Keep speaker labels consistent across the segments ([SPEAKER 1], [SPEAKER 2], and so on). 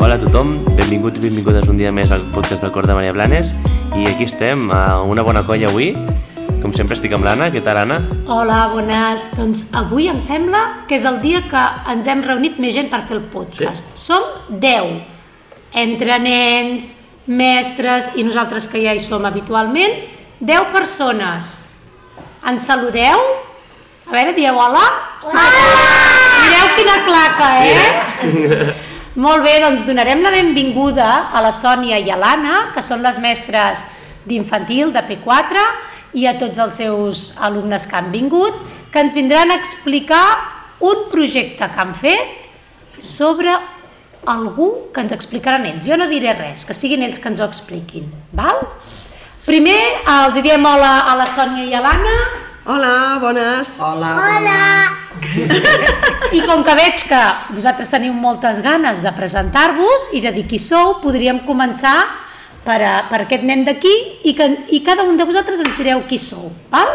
[SPEAKER 1] Hola a tothom, benvinguts i benvingudes un dia més al podcast del Cor de Maria Blanes i aquí estem, a una bona colla avui. Com sempre estic amb l'Anna, què tal Anna?
[SPEAKER 2] Hola, bones. Doncs avui em sembla que és el dia que ens hem reunit més gent per fer el podcast. Sí? Som 10, entre nens, mestres i nosaltres que ja hi som habitualment, 10 persones. Ens saludeu? A veure, dieu hola? Hola! Mireu quina claca, eh? Molt bé, doncs donarem la benvinguda a la Sònia i a l'Anna, que són les mestres d'infantil, de P4, i a tots els seus alumnes que han vingut, que ens vindran a explicar un projecte que han fet sobre algú que ens explicaran ells. Jo no diré res, que siguin ells que ens ho expliquin, val? Primer eh, els hi diem hola a la Sònia i a l'Anna,
[SPEAKER 3] Hola, bones. Hola.
[SPEAKER 2] I com que veig que vosaltres teniu moltes ganes de presentar-vos i de dir qui sou, podríem començar per, a, per aquest nen d'aquí i, que, i cada un de vosaltres ens direu qui sou, val?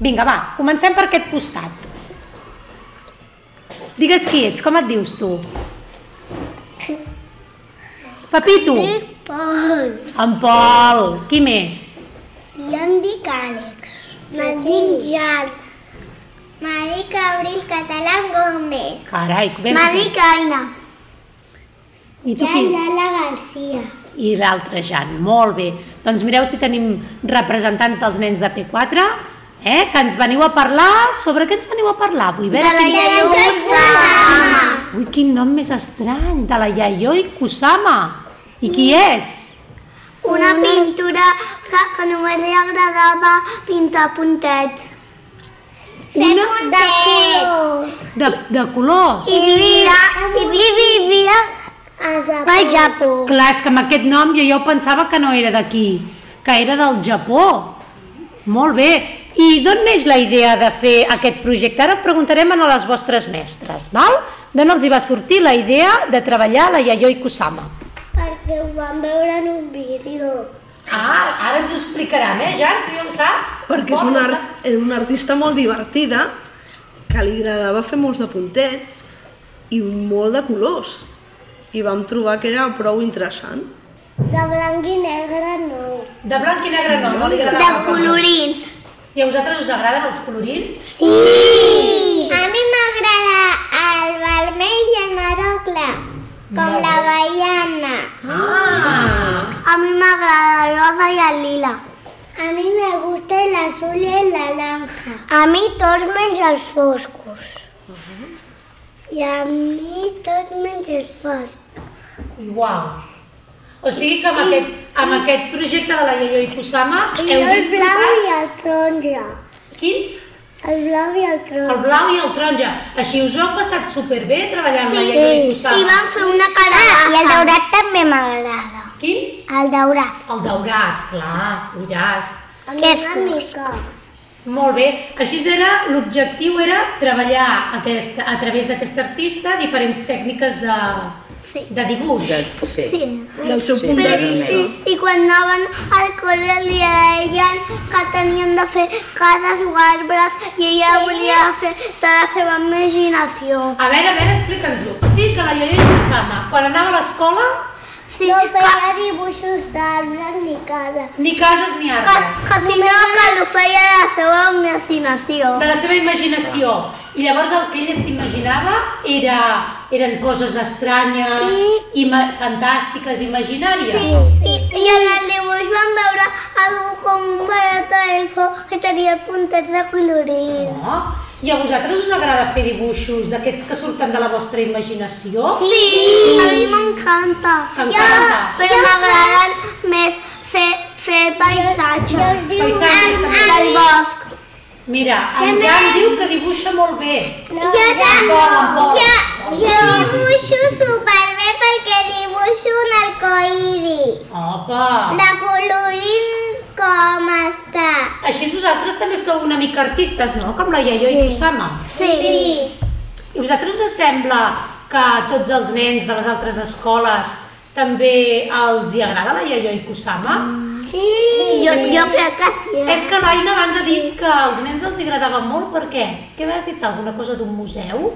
[SPEAKER 2] Vinga, va, comencem per aquest costat. Digues qui ets, com et dius tu? Pepito,
[SPEAKER 4] Dic Pol.
[SPEAKER 2] en Pol, qui més?
[SPEAKER 4] I em dic Àlex. Me'n dic Jan. Me dic Abril Català Gómez.
[SPEAKER 2] Carai, ben...
[SPEAKER 4] Me dic Aina.
[SPEAKER 2] I tu qui?
[SPEAKER 4] Lala Garcia.
[SPEAKER 2] i l'altre Jan. Molt bé. Doncs mireu si tenim representants dels nens de P4, eh? que ens veniu a parlar... Sobre què ens veniu a parlar avui? A
[SPEAKER 4] De la Lleió Kusama.
[SPEAKER 2] Ui, quin nom més estrany! De la Yayoi Kusama. I qui és?
[SPEAKER 4] Una pintura que, que només li agradava pintar puntets. Fer
[SPEAKER 2] Una-
[SPEAKER 4] puntets.
[SPEAKER 2] De, de colors.
[SPEAKER 4] I vivia, i vivia a Japó. A Japó.
[SPEAKER 2] Clar, és que amb aquest nom jo ja ho pensava que no era d'aquí, que era del Japó. Molt bé. I d'on neix la idea de fer aquest projecte? Ara et preguntarem a les vostres mestres, val? D'on els hi va sortir la idea de treballar la Yayoi Kusama?
[SPEAKER 4] Perquè ho vam veure en un vídeo.
[SPEAKER 2] Ah, ara ens ho explicaran, eh, Jan? Tu ja ho saps?
[SPEAKER 3] Perquè és una, art, és una artista molt divertida, que li agradava fer molts de puntets i molt de colors. I vam trobar que era prou interessant.
[SPEAKER 4] De blanc i negre no.
[SPEAKER 2] De blanc i negre no, no li
[SPEAKER 4] De colorins.
[SPEAKER 2] I a vosaltres us agraden els colorins?
[SPEAKER 4] Sí! A mi m'agrada el vermell i el maró clar, com la baiana.
[SPEAKER 2] Ah!
[SPEAKER 4] A mi m'agrada el rosa i el lila. A mi me gusta el azul i el naranja. A mi tots menys els foscos. I a mi tot menys els foscos.
[SPEAKER 2] Igual. O sigui que amb, aquest, amb aquest projecte de la Yayoi Kusama heu
[SPEAKER 4] blau
[SPEAKER 2] disfrutat...
[SPEAKER 4] i el taronja.
[SPEAKER 2] Qui?
[SPEAKER 4] El blau i el
[SPEAKER 2] El
[SPEAKER 4] taronja.
[SPEAKER 2] blau i el taronja. Així us ho heu passat superbé treballant amb la Yayoi Kusama.
[SPEAKER 4] I vam fer una cara ah, I el daurat també m'agrada.
[SPEAKER 2] Quin?
[SPEAKER 4] El daurat.
[SPEAKER 2] El daurat, clar, ullàs.
[SPEAKER 4] Que és mica.
[SPEAKER 2] Molt bé, així era, l'objectiu era treballar aquesta, a través d'aquest artista diferents tècniques de,
[SPEAKER 4] Sí.
[SPEAKER 2] de dibuix.
[SPEAKER 5] Sí.
[SPEAKER 4] Sí.
[SPEAKER 3] Del seu punt de
[SPEAKER 4] Però
[SPEAKER 3] vista.
[SPEAKER 4] i, i quan anaven al col·le li deien que tenien de fer cases o arbres i ella volia fer de la seva imaginació.
[SPEAKER 2] A veure, a veure, explica'ns-ho. O sigui que la Yayoi Kusama, quan anava a l'escola,
[SPEAKER 4] Sí, no feia dibuixos d'arbres ni cases.
[SPEAKER 2] ni cases ni
[SPEAKER 4] Que,
[SPEAKER 2] arbres.
[SPEAKER 4] que sinó que ho feia de la seva imaginació.
[SPEAKER 2] de la seva imaginació. I llavors el que ella s'imaginava era, eren coses estranyes,
[SPEAKER 4] Sí.
[SPEAKER 2] ima fantàstiques, imaginàries.
[SPEAKER 4] Sí, i, i en el dibuix vam veure algú com un barat d'elfo que tenia puntets de colorins.
[SPEAKER 2] No? I a vosaltres us agrada fer dibuixos d'aquests que surten de la vostra imaginació?
[SPEAKER 4] Sí! A mi m'encanta.
[SPEAKER 2] T'encanta.
[SPEAKER 4] Jo- Però m'agraden més fer, fer paisatges.
[SPEAKER 2] Paisatges, també.
[SPEAKER 4] Del bosc.
[SPEAKER 2] Mira, en Jan diu que dibuixa molt bé.
[SPEAKER 4] jo
[SPEAKER 2] també. Bo, bo. Jo-
[SPEAKER 4] dibuixo superbé perquè dibuixo un arcoïris.
[SPEAKER 2] Opa!
[SPEAKER 4] De colorins com està.
[SPEAKER 2] Així vosaltres també sou una mica artistes, no? Com la Yayoi sí. Kusama.
[SPEAKER 4] Sí. sí.
[SPEAKER 2] I a vosaltres us sembla que a tots els nens de les altres escoles també els hi agrada la Yayoi Kusama?
[SPEAKER 4] Sí, jo, jo crec que sí.
[SPEAKER 2] És que l'Aina abans ha dit que als nens els hi agradava molt, per què? Què m'has dit? Alguna cosa d'un museu?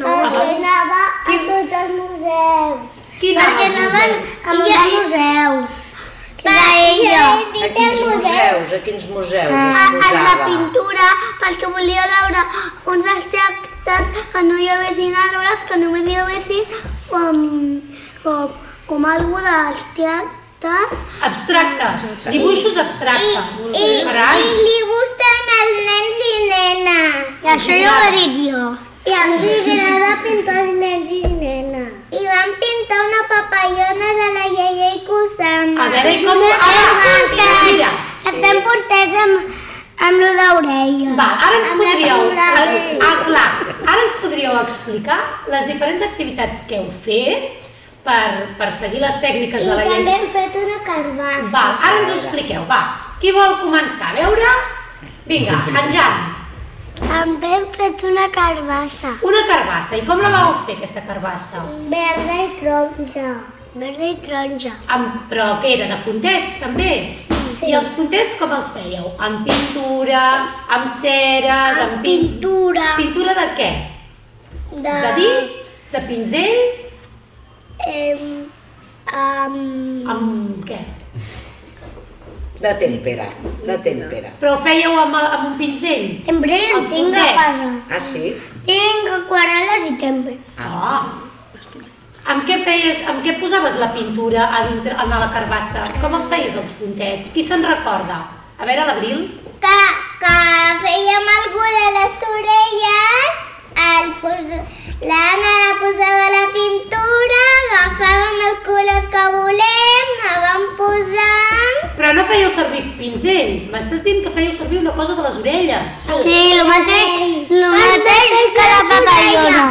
[SPEAKER 4] perquè anava a tots els museus.
[SPEAKER 2] Qui anava als
[SPEAKER 4] perquè a molts museus. Que era ella.
[SPEAKER 5] A quins museus, a quins museus
[SPEAKER 4] A,
[SPEAKER 5] es
[SPEAKER 4] a la
[SPEAKER 5] posava?
[SPEAKER 4] pintura, perquè volia veure uns extractes que no hi haguessin arbres, que només hi haguessin com, com, com alguna dels teatres
[SPEAKER 2] Abstractes, dibuixos abstractes. Carai,
[SPEAKER 4] li gusten els nens i nenes. I això ja ho he dit jo. I a mi m'agrada pintar els nens i nenes. I vam pintar una papallona de la iaia i cosana.
[SPEAKER 2] A veure, i com ho- ara, mira.
[SPEAKER 4] Fem portets amb, amb lo d'orelles.
[SPEAKER 2] va, ara ens
[SPEAKER 4] Amb la
[SPEAKER 2] podríeu...
[SPEAKER 4] pintura.
[SPEAKER 2] Ara, ah, clar, ara ens podríeu explicar les diferents activitats que heu fet per, per seguir les tècniques de la llei.
[SPEAKER 4] hem fet una carbassa.
[SPEAKER 2] Va, ara ens ho expliqueu, va. Qui vol començar? A veure? Vinga, en Jan,
[SPEAKER 4] També hem fet una carbassa.
[SPEAKER 2] una carbassa. I com la vau fer, aquesta carbassa?
[SPEAKER 4] Verda i taronja. Verda i taronja.
[SPEAKER 2] Amb, però què era, de puntets, també?
[SPEAKER 4] Sí.
[SPEAKER 2] I els puntets com els fèieu? Amb pintura, amb ceres, amb,
[SPEAKER 4] Amb
[SPEAKER 2] pins...
[SPEAKER 4] pintura. Ah.
[SPEAKER 2] Pintura de què?
[SPEAKER 4] De,
[SPEAKER 2] De dits? De pinzell?
[SPEAKER 4] Em, em,
[SPEAKER 2] Amb què?
[SPEAKER 5] De tèmpera, de tèmpera.
[SPEAKER 2] Però ho fèieu amb, amb un pinzell?
[SPEAKER 4] tembre
[SPEAKER 2] Els
[SPEAKER 4] no tinc a
[SPEAKER 2] puntets.
[SPEAKER 4] casa.
[SPEAKER 5] Ah, sí?
[SPEAKER 4] Tinc aquarel·les i tembre.
[SPEAKER 2] Oh. Amb què feies, amb què posaves la pintura a dintre, a la carbassa? Com els feies els puntets? Qui se'n recorda? A veure, l'Abril?
[SPEAKER 4] Que, que fèiem alguna a les orelles, el pos... l'Anna la posava la pintura, agafàvem els colors que volem, anàvem posant...
[SPEAKER 2] Però no fèieu servir pinzell. M'estàs dient que fèieu servir una cosa de les orelles.
[SPEAKER 4] Sí, el mateix, el mateix que la papallona.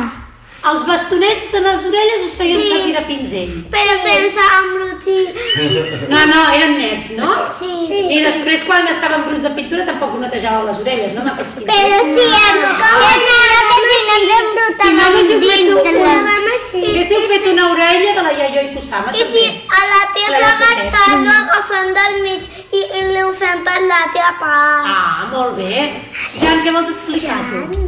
[SPEAKER 2] Els bastonets de les orelles us feien sí. servir de pinzell.
[SPEAKER 4] Però sense embrutir.
[SPEAKER 2] No, no, eren nets, no?
[SPEAKER 4] Sí.
[SPEAKER 2] I després, quan estava en brus de pintura, tampoc netejava les orelles, no? Amb aquests pinzells.
[SPEAKER 4] Però sí, amb com és ara que si no ens
[SPEAKER 2] Si no
[SPEAKER 4] embrutàvem
[SPEAKER 2] haguéssiu fet un-
[SPEAKER 4] dintre.
[SPEAKER 2] Haguéssiu fet una orella de la Yayoi Kusama,
[SPEAKER 4] I si
[SPEAKER 2] també.
[SPEAKER 4] a la teva
[SPEAKER 2] Clar, perquè-
[SPEAKER 4] Marta no agafem del mig i, i li ho fem per la teva part.
[SPEAKER 2] Ah, molt bé. Jan, què vols explicar, tu?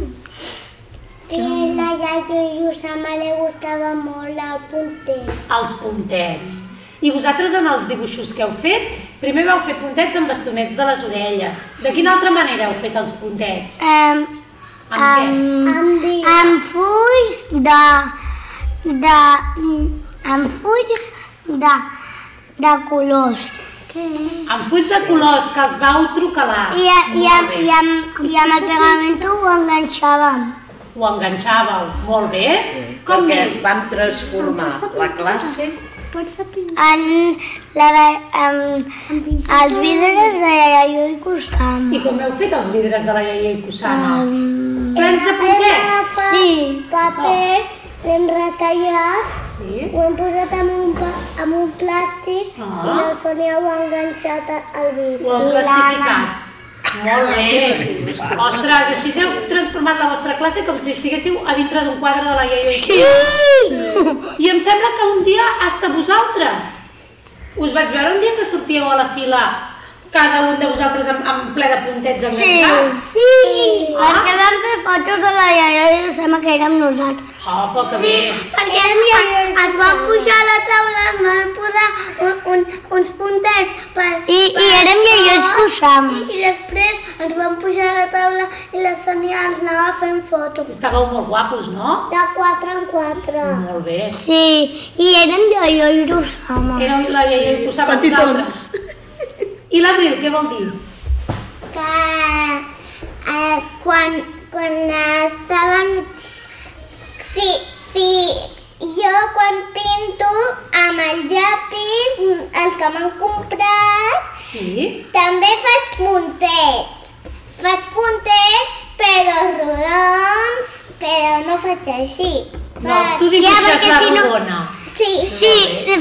[SPEAKER 4] Que la iaia Yusama li gustava molt el punter.
[SPEAKER 2] Els puntets. I vosaltres, en els dibuixos que heu fet, primer vau fer puntets amb bastonets de les orelles. De quina altra manera heu fet els puntets?
[SPEAKER 4] Um,
[SPEAKER 2] Amb què?
[SPEAKER 4] amb, amb fulls de, de, amb fulls de, de colors. Què?
[SPEAKER 2] Amb fulls de colors que els vau trucalar.
[SPEAKER 4] I, i, amb, i, amb, i amb el pegament ho enganxàvem.
[SPEAKER 2] Ho enganxàveu. Molt bé. Com
[SPEAKER 5] Perquè
[SPEAKER 2] més?
[SPEAKER 5] vam transformar la classe
[SPEAKER 4] En la de, en, els vidres de Iaio i Costam.
[SPEAKER 2] I com heu fet els vidres de la Yayoi Kusama? Plens de Oh. puntets?
[SPEAKER 4] Sí. Paper, l'hem retallat,
[SPEAKER 2] Sí.
[SPEAKER 4] ho hem posat en un, pa, en un plàstic
[SPEAKER 2] Ah.
[SPEAKER 4] i la Sònia ho ha enganxat al vidre.
[SPEAKER 2] Ho heu plastificat. Molt bé. Ostres, així heu transformat la vostra classe com si estiguéssiu a dintre d'un quadre de la Yayoi Kusama. I em sembla que un dia hasta vosaltres. Us vaig veure un dia que sortíeu a la fila cada un de vosaltres amb, amb ple de puntets enganxats.
[SPEAKER 4] Sí.
[SPEAKER 2] Ah.
[SPEAKER 4] Perquè vam fer fotos a la iaia i sembla que érem nosaltres.
[SPEAKER 2] Oh, però que bé.
[SPEAKER 4] Perquè ens, ens van pujar a la taula, ens van posar un, un, uns puntets per... I, i érem iaios que usam. I després ens van pujar a la taula i la Sònia ens anava fent fotos.
[SPEAKER 2] Estàveu molt guapos, no?
[SPEAKER 4] De 4 en 4.
[SPEAKER 2] Molt bé.
[SPEAKER 4] Sí, i érem iaios que usam.
[SPEAKER 2] Era la iaia i posava
[SPEAKER 3] Petitons.
[SPEAKER 2] I l'Abril, què vol dir?
[SPEAKER 4] que eh, quan, quan estaven... Sí, sí, jo quan pinto amb el llapis, els que m'han comprat,
[SPEAKER 2] Sí.
[SPEAKER 4] també faig puntets. Faig puntets, però rodons, però no faig així.
[SPEAKER 2] No, tu dibuixes la rodona.
[SPEAKER 4] Sí, sí,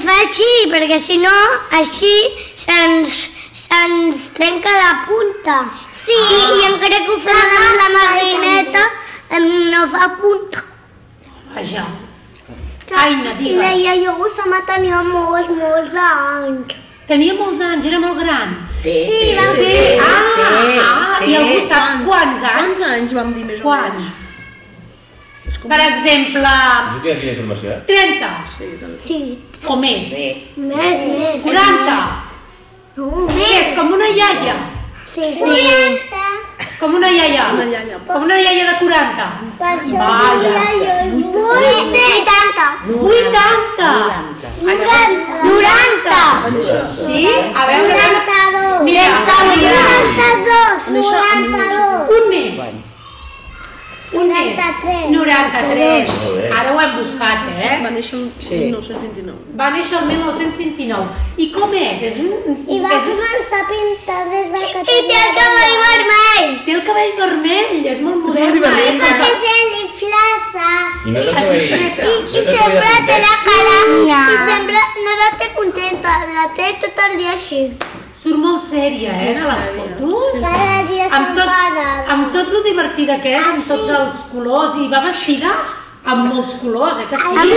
[SPEAKER 4] fa així, perquè si no, així se'ns se'ns trenca la punta. Sí. I, i encara que ho fem amb la marineta, no fa punta.
[SPEAKER 2] Vaja. Aina,
[SPEAKER 4] La
[SPEAKER 2] digues.
[SPEAKER 4] iaia Gusama tenia molts, molts anys.
[SPEAKER 2] Tenia molts anys, era molt gran.
[SPEAKER 5] té,
[SPEAKER 4] Sí, vam
[SPEAKER 5] té,
[SPEAKER 2] Té, ah,
[SPEAKER 5] té,
[SPEAKER 2] ah,
[SPEAKER 5] té,
[SPEAKER 2] i algú sap quants
[SPEAKER 3] Quants
[SPEAKER 2] anys?
[SPEAKER 3] anys vam dir més o
[SPEAKER 2] Quants?
[SPEAKER 3] menys?
[SPEAKER 2] Per exemple,
[SPEAKER 1] Jo tinc aquí la informació, eh?
[SPEAKER 2] 30
[SPEAKER 4] Sí.
[SPEAKER 2] o més.
[SPEAKER 5] Bé,
[SPEAKER 4] Més, més.
[SPEAKER 2] 40.
[SPEAKER 4] No,
[SPEAKER 2] Més, com una iaia.
[SPEAKER 4] Sí, sí. 40.
[SPEAKER 2] Com una iaia.
[SPEAKER 3] Una iaia.
[SPEAKER 2] Com una iaia de 40.
[SPEAKER 4] Per això
[SPEAKER 2] Vaja.
[SPEAKER 4] dia jo... 80.
[SPEAKER 2] 80.
[SPEAKER 4] 90. 90.
[SPEAKER 2] Sí? A veure,
[SPEAKER 4] 92.
[SPEAKER 2] mira, mira.
[SPEAKER 4] 92. 92.
[SPEAKER 2] Un més. Un més.
[SPEAKER 4] 93.
[SPEAKER 2] 93.
[SPEAKER 1] Molt bé.
[SPEAKER 2] Ara ho hem buscat,
[SPEAKER 3] Va
[SPEAKER 2] eh?
[SPEAKER 3] néixer un
[SPEAKER 5] Sí.
[SPEAKER 3] 1929.
[SPEAKER 2] Va néixer el 1929. I com és? És un...
[SPEAKER 4] I va
[SPEAKER 2] és un
[SPEAKER 4] començar a pintar des de que I té el cavall vermell.
[SPEAKER 2] Té el cabell vermell, és molt
[SPEAKER 3] molt
[SPEAKER 2] moderna.
[SPEAKER 3] divertit,
[SPEAKER 2] eh?
[SPEAKER 4] Perquè se li flaça.
[SPEAKER 1] I no te'n
[SPEAKER 2] Es
[SPEAKER 1] sabia...
[SPEAKER 2] disfressa.
[SPEAKER 4] I, i sempre té la cara... I sempre no la té contenta, la té tot el dia així.
[SPEAKER 2] Surt molt sèria, eh, a les fotos.
[SPEAKER 4] Cada dia
[SPEAKER 2] Amb tot,
[SPEAKER 4] s'enfada.
[SPEAKER 2] amb tot lo divertida que
[SPEAKER 4] Ah,
[SPEAKER 2] és, amb tots els colors, i va vestida amb molts colors, eh, que sí?
[SPEAKER 4] els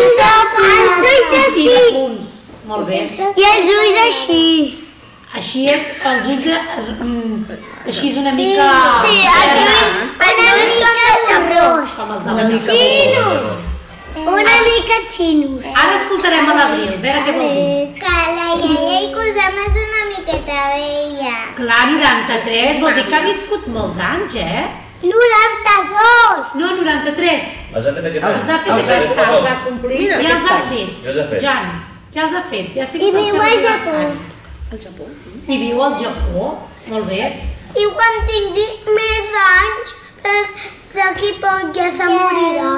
[SPEAKER 4] ulls
[SPEAKER 2] I de punts. Molt bé.
[SPEAKER 4] I els ulls així.
[SPEAKER 2] Així és, els ulls, eh, mm, així és una mica...
[SPEAKER 4] Sí, els ulls una mica xabrós.
[SPEAKER 2] Com els de la Jacobè.
[SPEAKER 4] Xinos. Una mica xinos.
[SPEAKER 2] Ara escoltarem a l'Abril, a veure què vol dir.
[SPEAKER 4] Que la iaia i Cosam és una miqueta vella.
[SPEAKER 2] Clar, 93, vol dir que ha viscut molts anys, eh?
[SPEAKER 4] 92.
[SPEAKER 2] No, 93.
[SPEAKER 1] Els ha fet aquest
[SPEAKER 5] els,
[SPEAKER 2] Els ha
[SPEAKER 1] any.
[SPEAKER 2] fet
[SPEAKER 5] els,
[SPEAKER 2] aquest
[SPEAKER 5] els, els ha complit
[SPEAKER 3] Mira,
[SPEAKER 2] Ja els
[SPEAKER 5] aquest
[SPEAKER 2] ha
[SPEAKER 5] any.
[SPEAKER 2] fet.
[SPEAKER 1] Ja els ha fet.
[SPEAKER 2] Jan, ja els ha fet. Ja sé
[SPEAKER 4] I
[SPEAKER 2] que
[SPEAKER 4] viu
[SPEAKER 2] el seu
[SPEAKER 4] a Japó.
[SPEAKER 2] aniversari.
[SPEAKER 3] Al Japó.
[SPEAKER 2] I viu al Japó. Molt bé.
[SPEAKER 4] I quan tingui més anys, doncs d'aquí poc ja se morirà.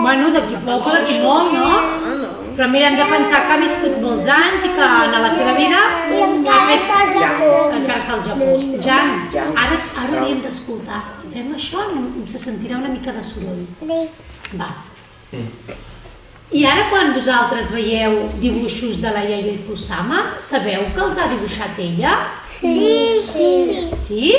[SPEAKER 2] Bueno, d'aquí poc o d'aquí molt, no?
[SPEAKER 3] Ah, no.
[SPEAKER 2] Però mira, hem de pensar que ha viscut molts anys i que en la seva vida
[SPEAKER 4] I encara està a Japó.
[SPEAKER 2] encara està al Japó. Jan, ara, ara hauríem d'escoltar. Si fem això, no- se sentirà una mica de soroll. Va. I ara quan vosaltres veieu dibuixos de la Yayoi Kusama, sabeu que els ha dibuixat ella?
[SPEAKER 4] Sí, sí.
[SPEAKER 2] Sí?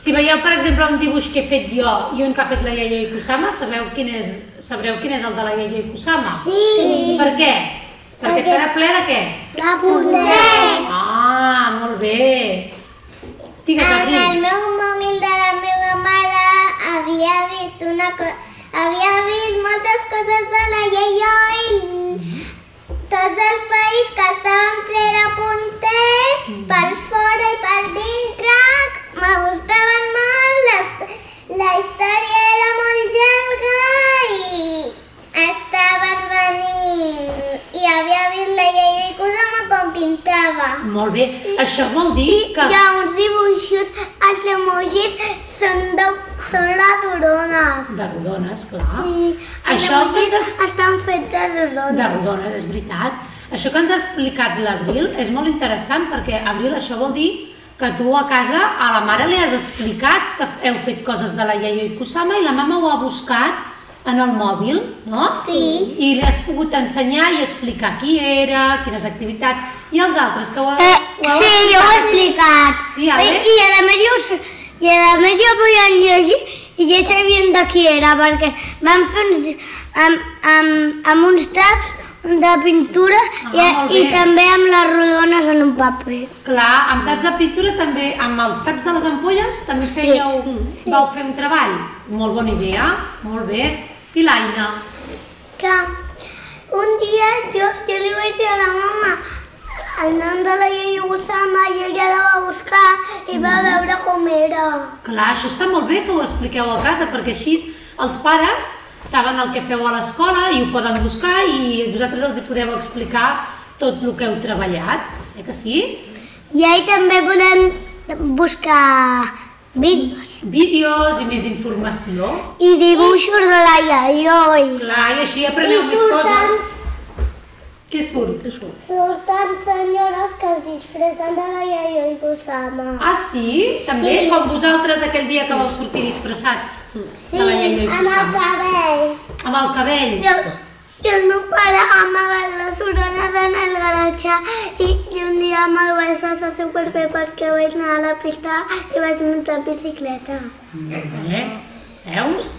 [SPEAKER 2] Si veieu, per exemple, un dibuix que he fet jo i un que ha fet la Yayoi Kusama, sabeu quin és, sabreu quin és el de la Yayoi Kusama?
[SPEAKER 4] Sí.
[SPEAKER 2] Per què? Perquè estarà ple de què?
[SPEAKER 4] La puntet.
[SPEAKER 2] Ah, molt bé. Digues,
[SPEAKER 4] En el
[SPEAKER 2] Adri.
[SPEAKER 4] meu mòbil de la meva mare havia vist una cosa... Havia vist moltes coses de la Yayoi, tots els païs que estaven ple de puntets,
[SPEAKER 2] Mm-hmm.
[SPEAKER 4] pel fora i pel dintre, me gustaven molt, les, la història era molt llarga i estaven venint. I havia vist la Yayoi Kusama com pintava.
[SPEAKER 2] Molt bé. Això vol dir que...
[SPEAKER 4] Hi ha uns dibuixos, els emojis són, de, són de rodones.
[SPEAKER 2] De rodones, clar.
[SPEAKER 4] I els
[SPEAKER 2] Això que ens
[SPEAKER 4] emojis
[SPEAKER 2] has
[SPEAKER 4] estan fets de
[SPEAKER 2] De
[SPEAKER 4] rodones.
[SPEAKER 2] rodones, és veritat. Això que ens ha explicat l'Abril és molt interessant perquè, Abril, això vol dir que tu a casa a la mare li has explicat que heu fet coses de la Yayoi Kusama i la mama ho ha buscat en el mòbil, no?
[SPEAKER 4] Sí.
[SPEAKER 2] I li has pogut ensenyar i explicar qui era, quines activitats, i els altres que ho,
[SPEAKER 4] Eh,
[SPEAKER 2] ho heu
[SPEAKER 4] sí, jo ho he explicat.
[SPEAKER 2] Sí, a
[SPEAKER 4] I,
[SPEAKER 2] veure.
[SPEAKER 4] I a més jo, us- i a més jo podien llegir i ja sabien de qui era, perquè van fer uns, amb, amb, amb uns taps de pintura i,
[SPEAKER 2] Ah, molt
[SPEAKER 4] i
[SPEAKER 2] bé.
[SPEAKER 4] també amb les rodones en un paper.
[SPEAKER 2] Clar, amb taps de pintura també, amb els taps de les ampolles, també fèieu,
[SPEAKER 4] sí.
[SPEAKER 2] vau fer un treball. Molt bona idea, molt bé. I l'Aina?
[SPEAKER 4] que un dia jo, jo li vaig dir a la mama el nom de la iaia Usama i ella la va buscar i va veure com era.
[SPEAKER 2] Clar, això està molt bé que ho expliqueu a casa, perquè així els pares saben el que feu a l'escola i ho poden buscar i vosaltres els hi podeu explicar tot el que heu treballat, eh que sí?
[SPEAKER 4] I ahir també volem buscar vídeos
[SPEAKER 2] Vídeos i més informació.
[SPEAKER 4] i dibuixos de la iaioi.
[SPEAKER 2] Clar, i així apreneu més coses. Què surt?
[SPEAKER 4] surten senyores que es disfressen de la iaioi Usama.
[SPEAKER 2] Ah, sí? També?
[SPEAKER 4] Sí.
[SPEAKER 2] Com vosaltres aquell dia que vau sortir disfressats de la Lleida i Kusama.
[SPEAKER 4] cabell.
[SPEAKER 2] Amb el cabell.
[SPEAKER 4] I el, i el meu pare amagava les orelles en el garatge i, i un dia me'l vaig passar superbé perquè vaig anar a la pista i vaig muntar en bicicleta.
[SPEAKER 2] Eh? Veus?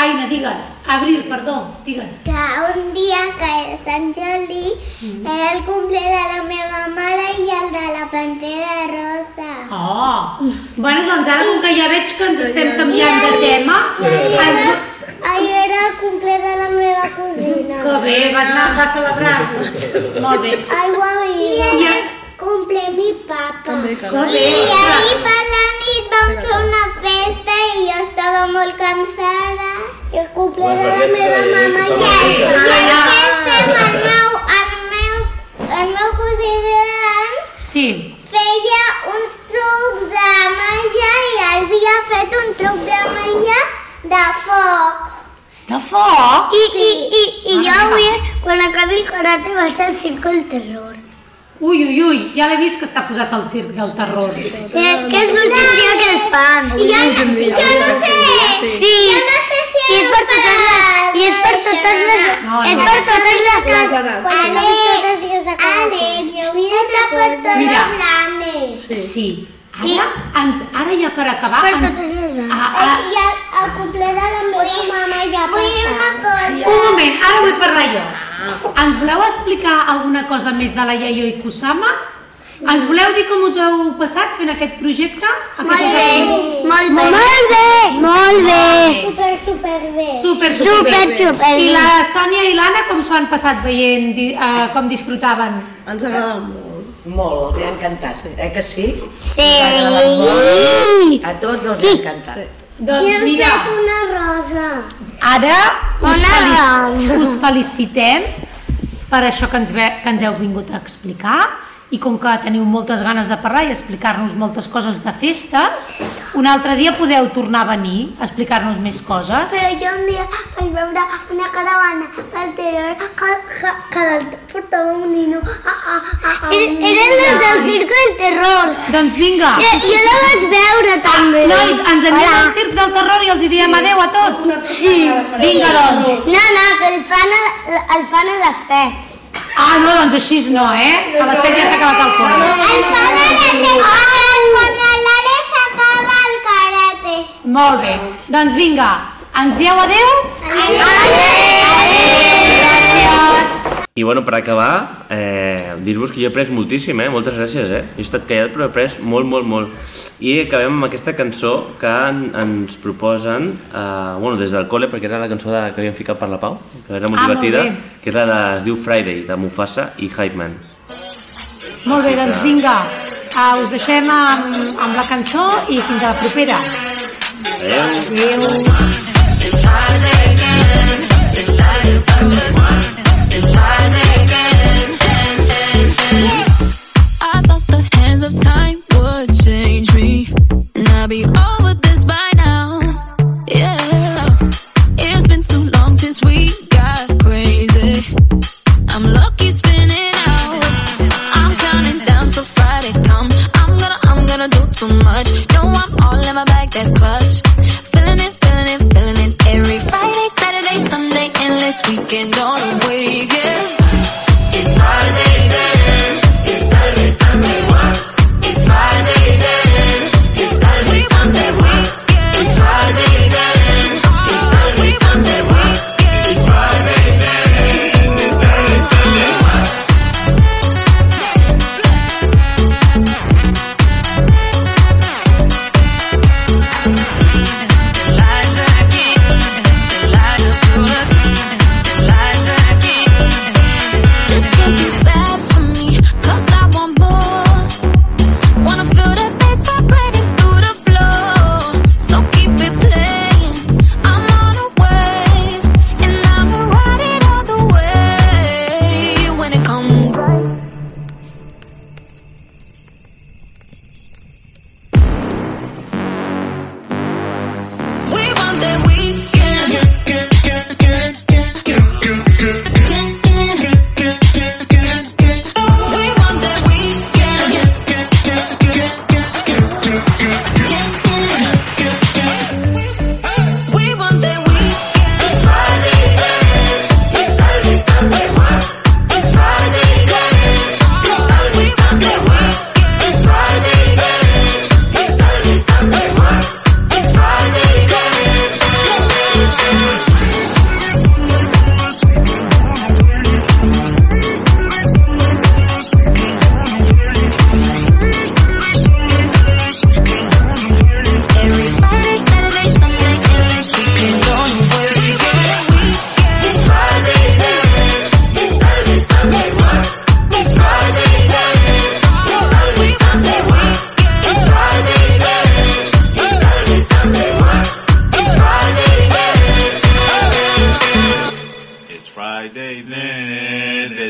[SPEAKER 2] Aina, digues. Abril, perdó, digues.
[SPEAKER 4] Que un dia que era Sant Jordi era el cumple de la meva mare i el de la pantera rosa.
[SPEAKER 2] Oh! Bueno, doncs ara com que ja veig que ens estem canviant de tema, ens,
[SPEAKER 4] Ahir era el cumple de la meva cosina.
[SPEAKER 2] Que bé, vas anar vas celebrar Molt bé.
[SPEAKER 4] Ai, guai,
[SPEAKER 2] I
[SPEAKER 4] I
[SPEAKER 2] a-
[SPEAKER 4] cumple mi papa.
[SPEAKER 3] També
[SPEAKER 4] I
[SPEAKER 3] que
[SPEAKER 2] Que bé,
[SPEAKER 4] ahir
[SPEAKER 2] ostres.
[SPEAKER 4] per la nit vam fer una festa i jo estava molt cansada. I el cumple de la meva mama i ahir. I ahir fèiem el meu, el meu, el meu cosí gran
[SPEAKER 2] Sí.
[SPEAKER 4] feia uns trucs de màgia i havia fet un truc de màgia de foc.
[SPEAKER 2] De foc?
[SPEAKER 4] I, i, i, i jo avui, quan acabi el karate, vaig al circo del terror.
[SPEAKER 2] Ui, ui, ui, ja l'he vist que està posat al circ del terror.
[SPEAKER 4] Eh, que és l'últim dia que el fan. Jo, jo no sé. Sí. Jo no sé si I és per totes les... I és per totes les...
[SPEAKER 2] No,
[SPEAKER 4] és
[SPEAKER 2] no.
[SPEAKER 4] per totes les
[SPEAKER 3] Les
[SPEAKER 4] cases.
[SPEAKER 3] edats, sí.
[SPEAKER 4] Àlex, Àlex, jo vull anar per
[SPEAKER 2] Mira.
[SPEAKER 4] planes.
[SPEAKER 2] Sí. Ara, en, ara ja per acabar...
[SPEAKER 4] Per
[SPEAKER 2] en-
[SPEAKER 4] totes les edats.
[SPEAKER 2] Ah, ah,
[SPEAKER 4] I el, el complet de la meva mama ja passa. Vull dir una cosa.
[SPEAKER 2] Un moment, ara vull parlar jo. Ens voleu explicar alguna cosa més de la Yayo i Kusama? Ens voleu dir com us heu passat fent aquest projecte? Aquest esdeveniment?
[SPEAKER 4] Molt bé. Molt bé. Molt bé. Super, super bé.
[SPEAKER 2] Super, super,
[SPEAKER 4] Super, super
[SPEAKER 2] I
[SPEAKER 4] bé.
[SPEAKER 2] la Sònia i l'Anna com s'ho han passat veient, di- eh, com disfrutaven?
[SPEAKER 3] Ens agrada molt.
[SPEAKER 5] Molt, els ha encantat. Eh que sí?
[SPEAKER 4] Sí.
[SPEAKER 5] A tots els ha encantat.
[SPEAKER 4] I
[SPEAKER 2] Doncs
[SPEAKER 4] hem
[SPEAKER 2] mira,
[SPEAKER 4] fet una rosa.
[SPEAKER 2] ara us,
[SPEAKER 4] Bona
[SPEAKER 2] felici
[SPEAKER 4] Nadal.
[SPEAKER 2] us felicitem per això que ens, ve, que ens heu vingut a explicar i com que teniu moltes ganes de parlar i explicar-nos moltes coses de festes, un altre dia podeu tornar a venir a explicar-nos més coses.
[SPEAKER 4] Però jo un dia vaig veure una caravana del terror que, que, que dalt portava un nino. Ah, ah, ah, ah, Eren les del circo del terror.
[SPEAKER 2] Doncs vinga,
[SPEAKER 4] Jo la vaig veure també.
[SPEAKER 2] nois, ens anem al circ del terror i els hi diem adeu a tots. Sí. Vinga, doncs.
[SPEAKER 4] No, no, que el fan a, el fan a les 7.
[SPEAKER 2] Ah, no, doncs així no, eh? A les 7 ja s'ha acabat el col·le.
[SPEAKER 4] El fan a les 7. Quan l'Àlex acaba el karate.
[SPEAKER 2] Molt bé. Doncs vinga, ens dieu adeu?
[SPEAKER 4] Adéu.
[SPEAKER 2] Gràcies.
[SPEAKER 1] I bueno, per acabar, eh, dir-vos que jo he après moltíssim, eh? Moltes gràcies, eh? Jo he estat callat però he après molt, molt, molt. I acabem amb aquesta cançó que en, ens proposen, eh, bueno, des del col·le, perquè era la cançó de, que havíem ficat per la Pau, que era molt
[SPEAKER 2] Ah, molt
[SPEAKER 1] divertida,
[SPEAKER 2] bé.
[SPEAKER 1] que és la de, es diu Friday, de Mufasa i Hype Man.
[SPEAKER 2] Molt bé, doncs vinga. Uh, us deixem amb, amb la cançó i fins a la propera.
[SPEAKER 1] Adéu!
[SPEAKER 6] I thought the hands of time would change me, and I'd be over this by now. Yeah, it's been too long since we got crazy. I'm lucky spinning out. I'm counting down till Friday come. I'm gonna, I'm gonna do too much. No, I'm all in my bag, that's clutch. Feeling it, feeling it, feeling it. Every Friday, Saturday, Sunday, endless weekend on a weekend. It's Friday then.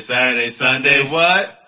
[SPEAKER 7] Saturday, Sunday, what?